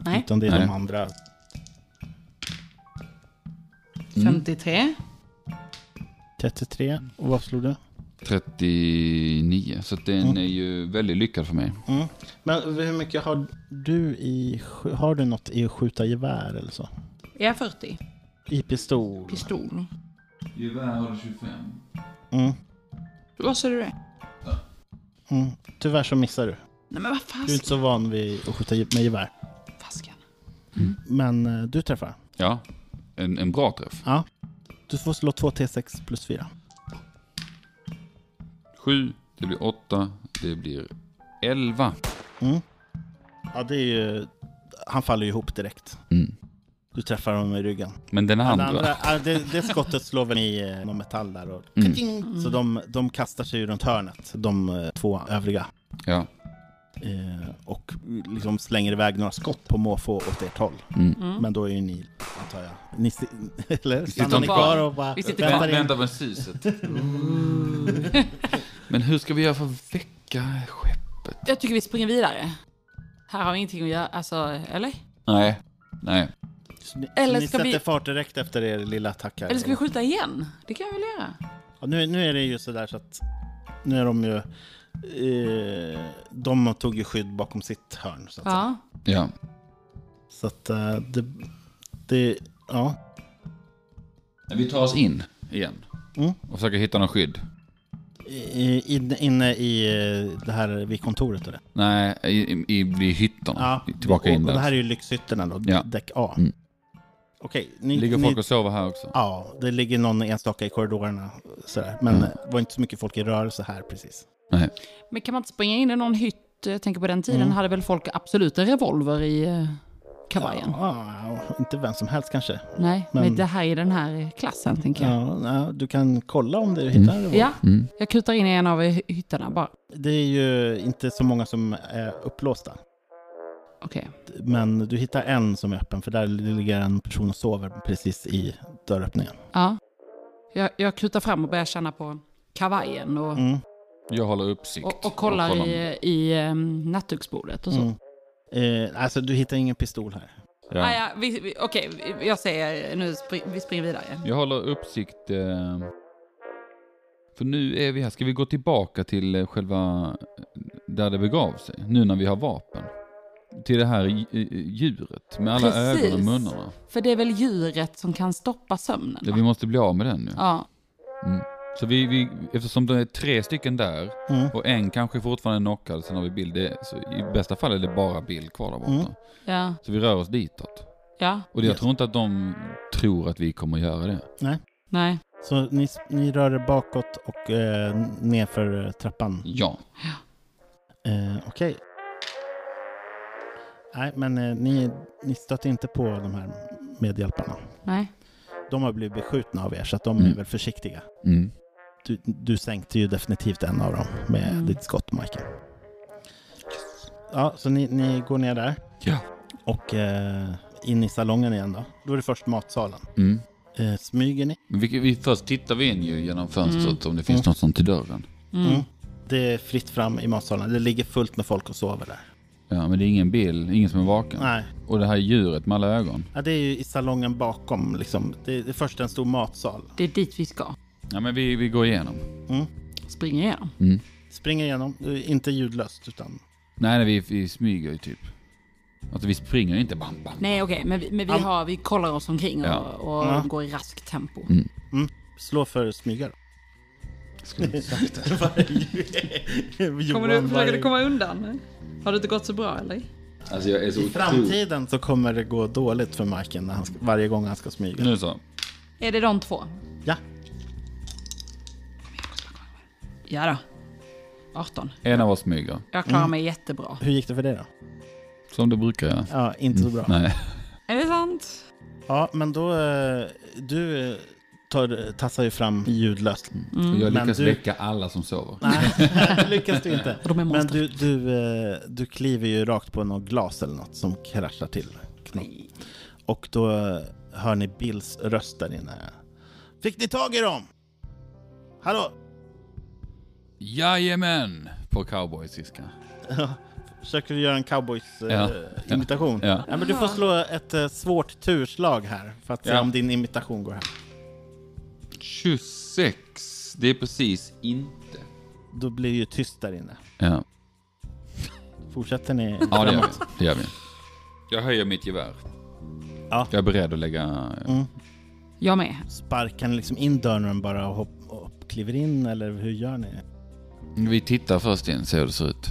Speaker 4: Nej,
Speaker 1: utan det är
Speaker 3: Nej.
Speaker 1: de andra.
Speaker 4: Mm. 53.
Speaker 1: 33, och vad slog du?
Speaker 3: 39, så att den är ju väldigt lyckad för mig.
Speaker 1: Mm. Men hur mycket har du i... sk- Har du något i att skjuta gevär eller så?
Speaker 4: Är jag 40?
Speaker 1: I pistol?
Speaker 4: Pistol.
Speaker 3: Gevär har 25.
Speaker 1: Mm.
Speaker 4: Vad sa du det?
Speaker 1: Mm. Tyvärr så missar du.
Speaker 4: Nej men vad
Speaker 1: Du är inte
Speaker 4: fasken?
Speaker 1: så van vid att skjuta ge- med gevär.
Speaker 4: fasken.
Speaker 1: Men eh, du träffar.
Speaker 3: Ja, en, en bra träff.
Speaker 1: Ja. Du får slå 2 T6 plus 4.
Speaker 3: 7, det blir 8, det blir 11.
Speaker 1: Mm. Ja, det är ju... Han faller ju ihop direkt.
Speaker 3: Mm.
Speaker 1: Du träffar honom i ryggen.
Speaker 3: Men den
Speaker 1: Den
Speaker 3: andra,
Speaker 1: andra, ja, det, det skottet slår väl i eh, någon metall där. Och,
Speaker 3: Mm.
Speaker 1: Ka-ting! Så de, de kastar sig ju runt hörnet, de eh, två övriga.
Speaker 3: ja.
Speaker 1: Eh, och liksom slänger iväg några skott på måfå åt ert håll.
Speaker 3: Mm.
Speaker 1: Men då är ju ni, antar jag, ni, si- eller?
Speaker 3: sitter
Speaker 1: Stannar ni
Speaker 3: kvar.
Speaker 1: kvar och bara
Speaker 4: Vi sitter
Speaker 1: väntar
Speaker 3: Vänta,
Speaker 1: in?
Speaker 3: vänta på suset.
Speaker 4: Mm.
Speaker 3: Men hur ska vi göra för att väcka skeppet?
Speaker 4: Jag tycker vi springer vidare. Här har vi ingenting att göra, alltså, eller?
Speaker 3: Nej, nej.
Speaker 1: Så ni,
Speaker 4: Eller
Speaker 1: så ni
Speaker 4: ska
Speaker 1: sätter
Speaker 4: vi-
Speaker 1: fart direkt efter er lilla attack här.
Speaker 4: Eller ska vi skjuta igen? Det kan jag väl göra?
Speaker 1: Ja, nu, nu är det ju sådär så att nu är de ju... Eh, de tog ju skydd bakom sitt hörn. Så att, säga.
Speaker 4: Ja.
Speaker 3: Ja.
Speaker 1: så att eh, det, det... Ja.
Speaker 3: Vi tar oss in igen
Speaker 1: Mm.
Speaker 3: och försöker hitta någon skydd.
Speaker 1: I- in- Inne i eh, det här vid kontoret. Eller?
Speaker 3: Nej, i, i, i hytterna. Tillbaka
Speaker 1: och,
Speaker 3: in
Speaker 1: Och
Speaker 3: där.
Speaker 1: det här är ju lyxhytterna då,
Speaker 3: Ja.
Speaker 1: däck A.
Speaker 3: Mm.
Speaker 1: Okej, ni...
Speaker 3: Ligger
Speaker 1: ni,
Speaker 3: folk och sover här också?
Speaker 1: Ja, det ligger någon enstaka i korridorerna. Sådär. Men
Speaker 3: Mm.
Speaker 1: eh, det var inte så mycket folk i rörelse här precis.
Speaker 3: Nej.
Speaker 4: Men kan man inte springa in i någon hytt? Jag tänker på den tiden hade väl folk absolut en revolver i eh, kavajen?
Speaker 1: Ja, inte vem som helst kanske.
Speaker 4: Nej, men...
Speaker 1: Men-
Speaker 4: det här är den här klassen tänker jag.
Speaker 1: Ja, ja, du kan kolla om du hittar mm.
Speaker 4: Ja, jag kutar in i en av hy- hytterna bara.
Speaker 1: Det är ju inte så många som är upplåsta.
Speaker 4: Okej.
Speaker 1: Men du hittar en som är öppen, för där ligger en person och sover precis i dörröppningen.
Speaker 4: Ja. Jag, jag kutar fram och börjar känna på kavajen och,
Speaker 1: Mm.
Speaker 3: Jag håller uppsikt.
Speaker 4: och, och kollar i, i um, nattduksbordet och så.
Speaker 1: Mm. Eh, alltså, du hittar ingen pistol här.
Speaker 3: Ja.
Speaker 4: Ah, ja, vi, vi, Okej, jag säger nu spring, vi springer vidare.
Speaker 3: Jag håller uppsikt. eh, För nu är vi här. Ska vi gå tillbaka till eh, själva eh, där det begav sig? Nu när vi har vapen. till det här i- i- djuret med alla
Speaker 4: Precis.
Speaker 3: ögon och munnarna.
Speaker 4: För det är väl djuret som kan stoppa sömnen?
Speaker 3: Ja,
Speaker 4: va?
Speaker 3: vi måste bli av med den nu.
Speaker 4: Ja.
Speaker 3: Mm. Så vi, vi, eftersom det är tre stycken där
Speaker 1: Mm.
Speaker 3: och en kanske fortfarande är knockad, sen har vi Bill. Det, så I bästa fall är det bara Bill kvar där borta.
Speaker 1: Mm.
Speaker 4: Ja.
Speaker 3: Så vi rör oss ditåt.
Speaker 4: Ja.
Speaker 3: Och jag
Speaker 1: Yes.
Speaker 3: tror inte att de tror att vi kommer göra det.
Speaker 4: Nej.
Speaker 1: Så ni, ni rör er bakåt och eh, nerför eh, trappan.
Speaker 3: Ja.
Speaker 1: Eh, Okej. Nej, men eh, ni, ni stöter inte på de här medhjälparna.
Speaker 4: Nej.
Speaker 1: De har blivit beskjutna av er, så att de
Speaker 3: Mm.
Speaker 1: är väl försiktiga.
Speaker 3: Mm.
Speaker 1: Du, du sänkte ju definitivt en av dem med
Speaker 4: Mm.
Speaker 1: ditt skott, Michael. Ja, så ni, ni går ner där
Speaker 3: Ja.
Speaker 1: och eh, in i salongen igen då. Då är det först matsalen.
Speaker 3: Mm.
Speaker 1: Eh, smyger ni?
Speaker 3: Men vi, vi, först tittar vi in ju genom fönstret om det finns
Speaker 1: Mm.
Speaker 3: något sånt till dörren.
Speaker 4: Mm.
Speaker 1: Mm. Det är fritt fram i matsalen. Det ligger fullt med folk och sover där.
Speaker 3: Ja, men det är ingen bil, ingen som är vaken.
Speaker 1: Nej,
Speaker 3: Och det här djuret med alla ögon.
Speaker 1: ja, det är ju i salongen bakom liksom. Det är det är först en stor matsal.
Speaker 4: Det är dit vi ska.
Speaker 3: Ja, men vi, vi går igenom.
Speaker 4: Springa igenom.
Speaker 3: Mm.
Speaker 1: Springer igenom, eh, inte ljudlöst utan
Speaker 3: Nej, nej vi, vi smyger ju typ. Alltså vi springer ju inte bam, bam.
Speaker 4: Nej okej, men, vi, men vi,
Speaker 1: Am-
Speaker 4: har, vi kollar oss omkring och,
Speaker 3: Ja. Mm.
Speaker 4: och
Speaker 1: Ja.
Speaker 4: går i raskt tempo.
Speaker 1: slå för smyga då.
Speaker 5: Kommer du försöka komma undan? Har det inte gått så bra eller?
Speaker 3: Alltså jag är så
Speaker 1: I framtiden så kommer det gå dåligt för Marken när han ska, varje gång han ska smyga.
Speaker 3: Nu så.
Speaker 4: Är det de två?
Speaker 1: Ja,
Speaker 4: Ja då. 18.
Speaker 3: En av oss smyger.
Speaker 4: Jag klarar mig jättebra.
Speaker 1: hur gick det för dig då?
Speaker 3: Som det brukar göra.
Speaker 1: Ja, inte så bra.
Speaker 3: Nej.
Speaker 5: Är det sant?
Speaker 1: Ja, men då... eh, Du eh, tar, tassar ju fram ljudlöst.
Speaker 3: Och Jag
Speaker 1: Mm. Men
Speaker 3: lyckas
Speaker 1: du-
Speaker 3: väcka alla som sover.
Speaker 1: Nej, det lyckas du inte.
Speaker 4: Och de är
Speaker 1: Men
Speaker 4: monster.
Speaker 1: du, du, eh, du kliver ju rakt på något glas eller något som kraschar till. Knopp. Och då eh, hör ni Bills röst där inne. Fick ni tag i dem? Hallå?
Speaker 3: Jajamän! På cowboysiska.
Speaker 1: Försöker du göra en cowboys eh,
Speaker 3: Ja.
Speaker 1: imitation?
Speaker 3: Ja.
Speaker 1: men du får slå ett eh, svårt turslag här för att se
Speaker 3: Ja.
Speaker 1: om din imitation går hem.
Speaker 3: 26. Det är precis inte.
Speaker 1: Då blir det ju tyst där inne.
Speaker 3: Ja,
Speaker 1: Fortsätter ni?
Speaker 3: ja det, gör vi. det gör vi. Jag höjer mitt gevär.
Speaker 1: Ja.
Speaker 3: Jag är beredd att lägga... Mm.
Speaker 4: Jag med.
Speaker 1: Sparkar ni liksom in dörren bara och, hopp, och kliver in eller hur gör ni?
Speaker 3: Vi tittar först in, ser hur det ser ut.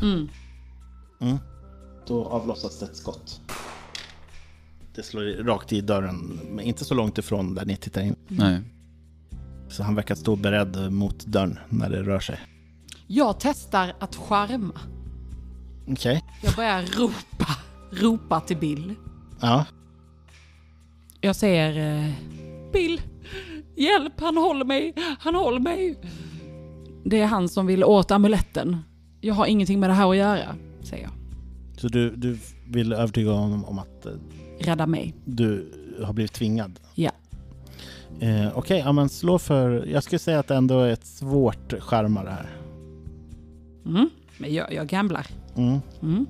Speaker 1: Då avlossas ett skott. Det slår i- rakt i dörren, men inte så långt ifrån där ni tittar in.
Speaker 3: Nej.
Speaker 1: Så han verkar stå beredd mot dörren när det rör sig.
Speaker 4: Jag testar att charma.
Speaker 1: Okej.
Speaker 4: Jag börjar ropa. Ropa till Bill.
Speaker 1: Ja.
Speaker 4: Jag säger... eh, Bill! Hjälp! Han håller mig! Han håller mig! Det är han som vill åt amuletten. Jag har ingenting med det här att göra, säger jag.
Speaker 1: Så du, du vill övertyga honom om att eh,
Speaker 4: Rädda mig.
Speaker 1: du har blivit tvingad?
Speaker 4: Ja.
Speaker 1: Eh, Okej, ja, men slå för... Jag skulle säga att det ändå är ett svårt charma det här.
Speaker 4: Mm. Men jag, jag gamblar.
Speaker 1: Mm. Du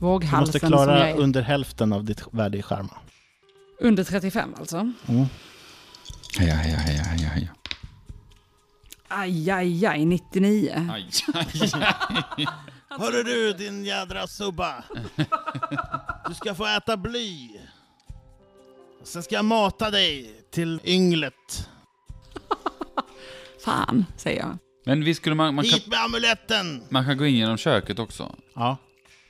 Speaker 4: Våghalsen
Speaker 1: måste
Speaker 4: som jag
Speaker 1: klara
Speaker 4: är.
Speaker 1: under hälften av ditt värde i charma.
Speaker 4: Under 35 alltså.
Speaker 3: Heja, heja, heja, heja, heja.
Speaker 4: Aj, aj, aj, 99.
Speaker 3: Aj, aj, aj.
Speaker 1: Hörru du din jädra subba! Du ska få äta bly. Sen ska jag mata dig till ynglet.
Speaker 4: Fan, säger jag.
Speaker 3: Men visst skulle man... Man kan,
Speaker 1: Hit med amuletten!
Speaker 3: man kan gå in genom köket också.
Speaker 1: Ja.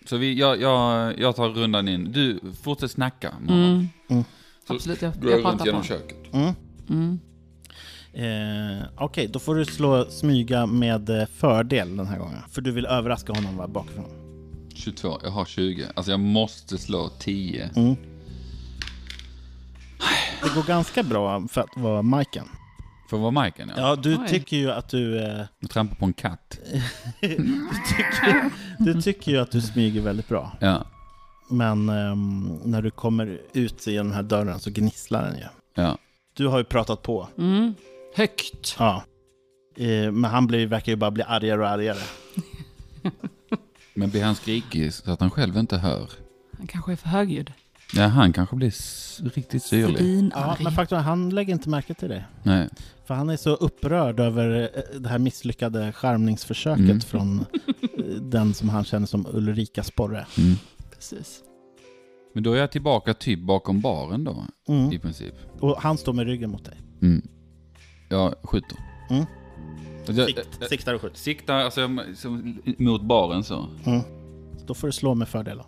Speaker 3: Så vi, jag, jag, jag tar rundan in. Du, fortsätt snacka. Mamma. Så
Speaker 4: Mm. Absolut, jag,
Speaker 3: Går jag
Speaker 4: jag
Speaker 3: runt
Speaker 4: pratar på
Speaker 3: genom
Speaker 4: honom. Mm.
Speaker 3: köket.
Speaker 1: Eh, Okej, då får du slå smyga med eh, fördel den här gången. För du vill överraska honom va, bakifrån.
Speaker 3: 22, jag har 20. Alltså jag måste slå 10.
Speaker 4: Mm.
Speaker 1: Det går ganska bra för att vara Majken.
Speaker 3: För vad Majken ja.
Speaker 1: Ja, du
Speaker 4: Oj.
Speaker 1: tycker ju att du... Eh,
Speaker 3: Jag trampar på en katt.
Speaker 1: du tycker ju att du smyger väldigt bra.
Speaker 3: Ja,
Speaker 1: Men ehm, när du kommer ut genom den här dörren så gnisslar den ju.
Speaker 3: ja.
Speaker 1: Du har ju pratat på.
Speaker 4: Mm. Högt.
Speaker 1: Ja. Eh, men han blir, verkar ju bara bli argare och argare.
Speaker 3: Men blir han skrikig så att han själv inte hör?
Speaker 4: Han kanske är för högljudd.
Speaker 3: Ja, han kanske blir s- riktigt syrlig.
Speaker 1: Ja,
Speaker 4: Svinarg.
Speaker 1: men faktum är, han lägger inte märke till det.
Speaker 3: Nej.
Speaker 1: För han är så upprörd över eh, det här misslyckade skärmningsförsöket
Speaker 3: Mm.
Speaker 1: från eh, den som han känner som Ulrika Sporre.
Speaker 3: Mm.
Speaker 4: Precis.
Speaker 3: Men då är jag tillbaka typ bakom baren då, i
Speaker 1: Mm.
Speaker 3: princip.
Speaker 1: Och han står med ryggen mot dig.
Speaker 3: Mm. Jag skjuter.
Speaker 1: Mm.
Speaker 3: Jag, jag,
Speaker 1: Sikt, siktar och skjuts.
Speaker 3: siktar alltså, jag- som, mot baren så.
Speaker 1: Mm. Då får du slå med fördel. då.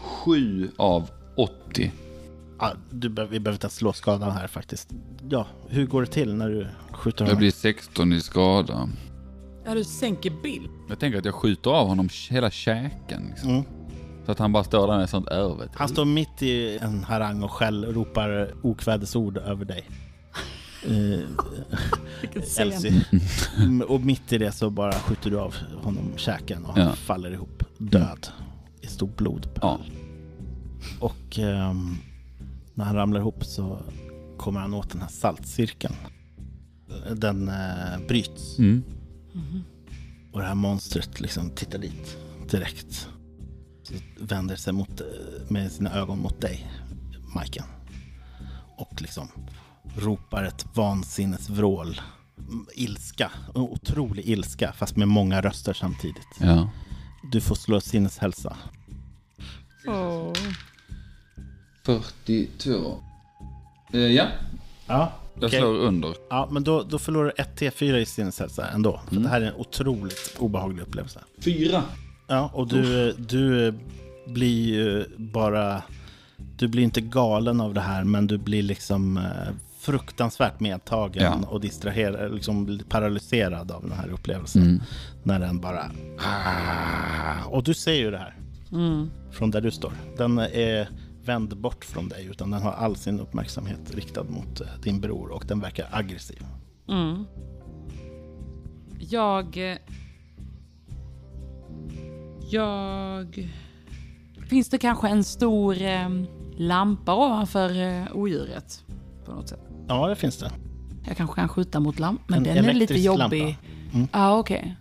Speaker 3: Sju av 80.
Speaker 1: Ja, du, be- vi behöver inte ens slå skadan här faktiskt. Ja, hur går det till när du skjuter
Speaker 3: Jag
Speaker 1: honom?
Speaker 3: blir 16 i skada.
Speaker 4: Ja, du sänker bild.
Speaker 3: Jag tänker att jag skjuter av honom hela käken. Liksom.
Speaker 1: Mm.
Speaker 3: Så att han bara står där med sånt övervet.
Speaker 1: Han står mitt i en harang och skäll och ropar okvädesord över dig. Eh,
Speaker 4: Vilken scen.
Speaker 1: Elsie. Mm, Och mitt i det så bara skjuter du av honom käken och han
Speaker 3: Ja.
Speaker 1: faller ihop död i stor blodpöl.
Speaker 3: Ja.
Speaker 1: Och ehm, när han ramlar ihop så kommer han åt den här saltcirkeln. Den eh, bryts
Speaker 3: Mm.
Speaker 1: och det här monstret liksom tittar dit direkt. Så vänder sig mot, eh, med sina ögon mot dig, Majken. Och liksom ropar ett vansinnesvrål. Mm, Ilska, en otrolig ilska, fast med många röster samtidigt.
Speaker 3: Ja.
Speaker 1: Du får slå sinneshälsa.
Speaker 3: 42. Eh, ja,
Speaker 1: Ja,
Speaker 3: jag
Speaker 1: okej.
Speaker 3: slår under.
Speaker 1: ja men då, då förlorar du 1 T4 i sinneshälsa ändå. För det här är en otroligt obehaglig upplevelse.
Speaker 3: Fyra.
Speaker 1: Ja, och du, du blir ju bara... Du blir inte galen av det här, men du blir liksom eh, fruktansvärt medtagen
Speaker 3: Ja.
Speaker 1: och distraherad, liksom paralyserad av den här upplevelsen. När den bara... Ah, och du ser ju det här från där du står. Den är vänd bort från dig, utan den har all sin uppmärksamhet riktad mot eh, din bror och den verkar aggressiv.
Speaker 4: Jag... eh, Jag... Finns det kanske en stor eh, lampa ovanför eh, odjuret? På något sätt.
Speaker 1: Ja, det finns det.
Speaker 4: Jag kanske kan skjuta mot lampan, men
Speaker 1: En
Speaker 4: den är lite
Speaker 1: elektrisk
Speaker 4: jobbig.
Speaker 1: lampa. Mm.
Speaker 4: Ja, okej.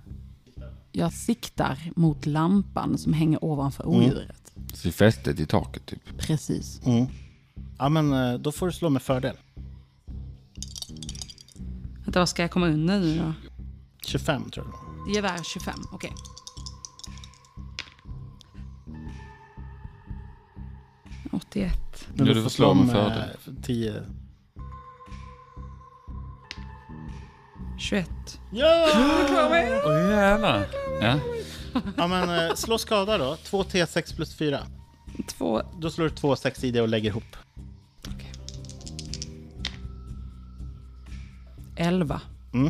Speaker 4: Jag siktar mot lampan som hänger ovanför
Speaker 1: Mm.
Speaker 4: odjuret.
Speaker 3: Så fästet i taket typ.
Speaker 4: Precis.
Speaker 1: Ja, men eh, då får du slå med fördel.
Speaker 5: Vänta, vad ska jag komma undan nu då?
Speaker 1: 25 tror jag.
Speaker 4: Gevär 25, okej.
Speaker 5: En 81.
Speaker 1: Men du
Speaker 3: Nu du
Speaker 1: får slå
Speaker 3: slå med
Speaker 1: med eh,
Speaker 3: fördel.
Speaker 1: 10.
Speaker 5: 21.
Speaker 1: Ja!
Speaker 3: Åh jävlar. Ja.
Speaker 1: ja men eh, slå skada då. 2 T6 plus 4.
Speaker 5: Två.
Speaker 1: Då slår du 2 6 i det och lägger ihop.
Speaker 4: 11.
Speaker 1: Eh,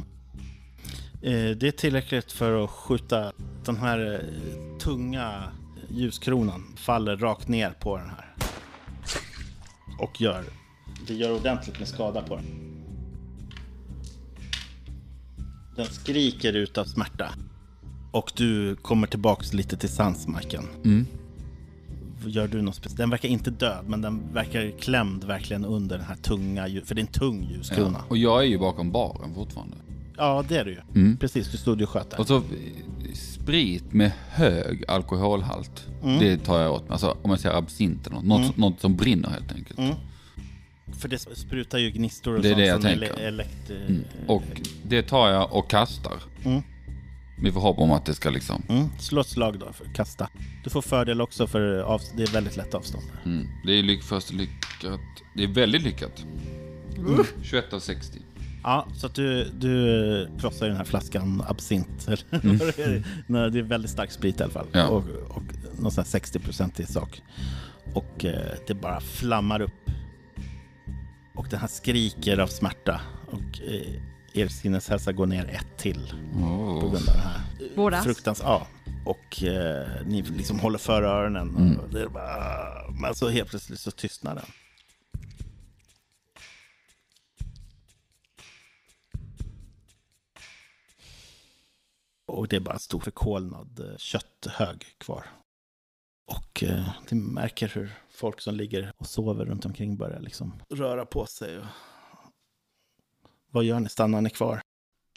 Speaker 1: Det är tillräckligt för att skjuta den här eh, tunga ljuskronan. Faller rakt ner på den här. Och gör. Det gör ordentligt med skada på den. Den skriker ut av smärta. Och du kommer tillbaks lite till sans, Majken. Gör du något speciellt? Den verkar inte död, men den verkar klämd verkligen under den här tunga, ljus- för det är en tung ljuskrona.
Speaker 3: Ja.
Speaker 1: Ja,
Speaker 3: Och jag är ju bakom baren fortfarande.
Speaker 1: det är du ju. Precis, du stod ju och sköt där.
Speaker 3: Och så eh, sprit med hög alkoholhalt. Det tar jag åt mig. Alltså om jag säger absint eller något. Något, något som brinner helt enkelt.
Speaker 1: För det sprutar ju gnistor och
Speaker 3: Det är
Speaker 1: sånt
Speaker 3: det jag
Speaker 1: som
Speaker 3: tänker. Mm.
Speaker 1: ele- elekt... eh,
Speaker 3: Och det tar jag och kastar. Med förhoppning om att det ska liksom...
Speaker 1: Mm. Slå ett slag då för att kasta. Du får fördel också för av, det är väldigt lätt avstånd.
Speaker 3: Mm. Det är lyck, först lyckat. Det är väldigt lyckat. 21 av 60.
Speaker 1: Ja, så att du, du krossar ju den här flaskan absint. Eller vad det är. Nej, det är väldigt stark sprit i alla fall.
Speaker 3: Mm. Ja.
Speaker 1: Och, och någon sån här 60% i sak. Och eh, det bara flammar upp. Och den här skriker av smärta. Och eh, er sinneshälsa går ner ett till.
Speaker 3: Åh.
Speaker 1: på grund av det här.
Speaker 5: Våras.
Speaker 1: Fruktans, ja. Och eh, ni liksom håller för öronen. Och det är bara, men så helt plötsligt så tystnar den. Och det är bara en stor förkolnad eh, kötthög kvar. Och eh, ni märker hur folk som ligger och sover runt omkring börjar liksom röra på sig. Och... Vad gör ni? Stannar ni kvar?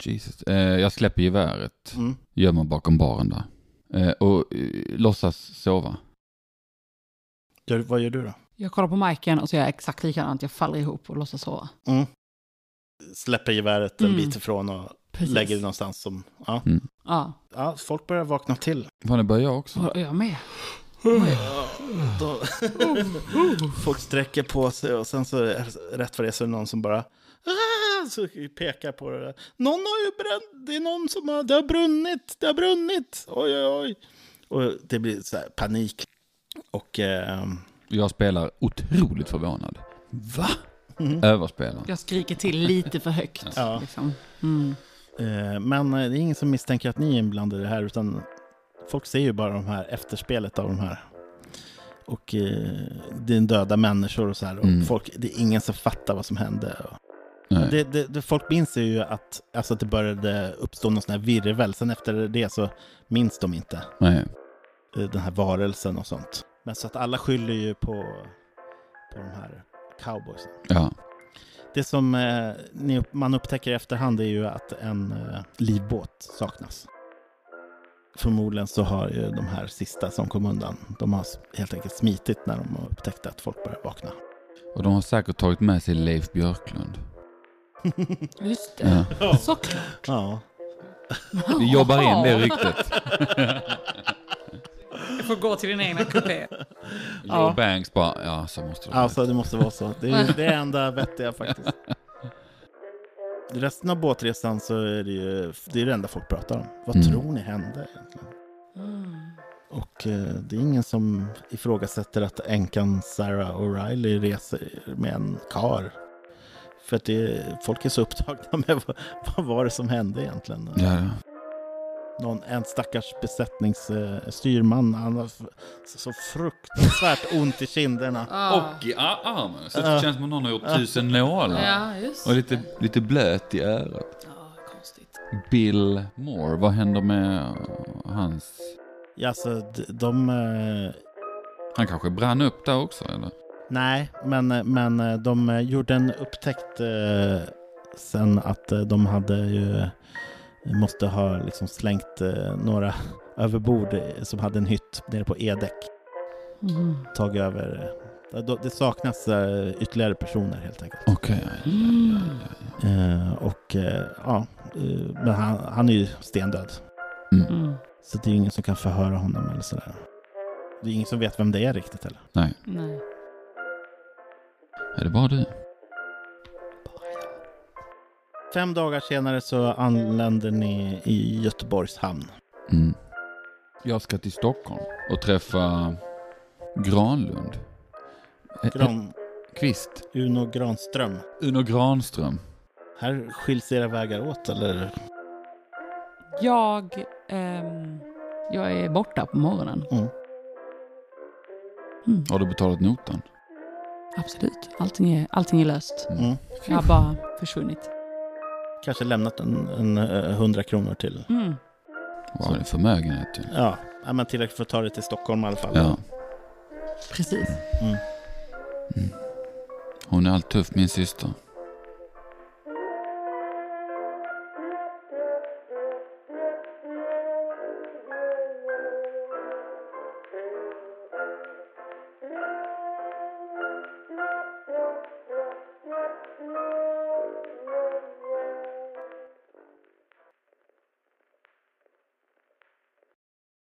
Speaker 3: Jesus. Eh, jag släpper geväret.
Speaker 1: Mm.
Speaker 3: Gömmer bakom baren där. Eh, och eh, låtsas sova.
Speaker 1: Gör, vad gör du då?
Speaker 4: Jag kollar på marken och så gör jag exakt likadant. Jag faller ihop och låtsas sova.
Speaker 1: Mm. Släpper geväret en
Speaker 4: Mm.
Speaker 1: bit ifrån och
Speaker 4: Precis.
Speaker 1: lägger det någonstans som... Ja.
Speaker 4: Ja,
Speaker 1: ja, folk börjar vakna till.
Speaker 3: Mm. Fan, det börjar jag också.
Speaker 4: och jag med.
Speaker 1: Då... folk sträcker på sig och sen så är rätt för det så är det någon som bara... "Ah!" Så pekar på det där. Någon har ju bränt, det är någon som har, det har brunnit, det har brunnit, oj oj oj. Och det blir så här panik. Och ehm,
Speaker 3: Jag spelar otroligt förvånad. Mm. Va? Överspelar.
Speaker 4: Jag skriker till lite för högt.
Speaker 1: Ja.
Speaker 4: Liksom.
Speaker 1: Eh, Men eh, det är ingen som misstänker att ni är inblandade i det här utan folk ser ju bara de här efterspelet av de här. Och eh, det är döda människor och så här. Och
Speaker 3: Mm.
Speaker 1: folk, det är ingen som fattar vad som hände. Och
Speaker 3: Nej.
Speaker 1: Det, det, det, folk minns ju att, alltså att det började uppstå någon sån här virvel. Sen efter det så minns de inte
Speaker 3: Nej.
Speaker 1: eh, den här varelsen och sånt. Men så att alla skyller ju på, på de här cowboysen.
Speaker 3: Ja.
Speaker 1: Det som eh, ni, man upptäcker i efterhand är ju att en eh, livbåt saknas. Förmodligen så har ju de här sista som kom undan, de har s- helt enkelt smitit när de har upptäckt att folk börjar vakna.
Speaker 3: Och de har säkert tagit med sig Leif Björklund.
Speaker 4: Just det.
Speaker 3: Ja.
Speaker 4: Såklart.
Speaker 1: Ja.
Speaker 3: Vi jobbar in det ryktet.
Speaker 5: Du får gå till din egna kupé.
Speaker 3: Joe Banks bara, ja så måste det vara.
Speaker 1: Alltså det måste vara så. Det är det är enda vettiga faktiskt. Resten av båtresan så är det ju det, är det enda folk pratar om. Vad
Speaker 3: Mm.
Speaker 1: tror ni hände egentligen?
Speaker 4: Mm.
Speaker 1: Och eh, det är ingen som ifrågasätter att änkan Sarah O'Reilly reser med en kar. För att det, folk är så upptagna med vad, vad var det som hände egentligen.
Speaker 3: Ja, ja.
Speaker 1: Någon, en stackars besättningsstyrman, han har f- så fruktansvärt ont i kinderna.
Speaker 5: Ah.
Speaker 3: Och i a- armen. Så det känns som att någon har gjort tusen nålar.
Speaker 5: Ja, just
Speaker 3: Och lite, lite blöt i örat.
Speaker 4: Ah,
Speaker 5: Ja, konstigt.
Speaker 3: Bill Moore, vad händer med eh, hans...
Speaker 1: Ja, alltså, d- de... eh,
Speaker 3: Han kanske brann upp där också eller?
Speaker 1: Nej, men, men eh, de eh, gjorde en upptäckt eh, sen att eh, de hade ju eh, måste ha liksom slängt eh, några överbord eh, som hade en hytt nere på Edäck.
Speaker 4: Mm.
Speaker 1: Tagit över. eh, de- Det saknas eh, ytterligare personer helt enkelt.
Speaker 3: Okej.
Speaker 4: Mm.
Speaker 1: Eh, Och eh, ja, eh, men han, han är ju stendöd.
Speaker 3: Mm.
Speaker 4: Mm.
Speaker 1: Så det är ju ingen som kan förhöra honom eller sådär. Det är ingen som vet vem det är riktigt heller.
Speaker 4: Nej.
Speaker 3: Är det bara du?
Speaker 1: Fem dagar senare så anländer ni i Göteborgs hamn.
Speaker 3: Mm. Jag ska till Stockholm och träffa Granlund. Eh, eh,
Speaker 1: Gran,
Speaker 3: Kvist.
Speaker 1: Uno Granström.
Speaker 3: Uno Granström.
Speaker 1: Här skiljs era vägar åt eller?
Speaker 4: Jag, ehm, jag är borta på morgonen.
Speaker 1: Mm.
Speaker 4: Mm.
Speaker 3: Har du betalat notan?
Speaker 4: Absolut. Allting är, allting är löst.
Speaker 3: Mm.
Speaker 1: Mm.
Speaker 4: Jag har bara försvunnit.
Speaker 1: Kanske lämnat en, en eh, 100 kronor till.
Speaker 4: Mm.
Speaker 3: Vad är det förmögenhet? du?
Speaker 1: Ja, ja, men tillräckligt för att ta det till Stockholm i alla fall.
Speaker 3: Ja.
Speaker 4: Precis.
Speaker 3: Hon är allt tuff, min syster.